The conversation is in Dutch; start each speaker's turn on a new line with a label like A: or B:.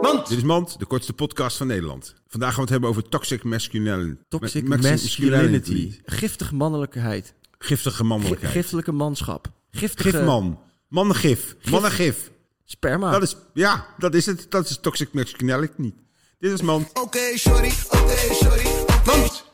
A: Mand!
B: Dit is Mand, de kortste podcast van Nederland. Vandaag gaan we het hebben over toxic masculinity.
A: Toxic
B: Ma-
A: masculinity. Giftig mannelijkheid.
B: Giftige
A: Gi-
B: mannelijkheid.
A: Giftelijke manschap. Giftige Ah.
B: Gifman. Mannengif. Mannengif.
A: sperma.
B: Dat is, ja, dat is het. Dat is toxic masculinity. Dit is Mand.
C: Oké, sorry, oké, sorry. Mand.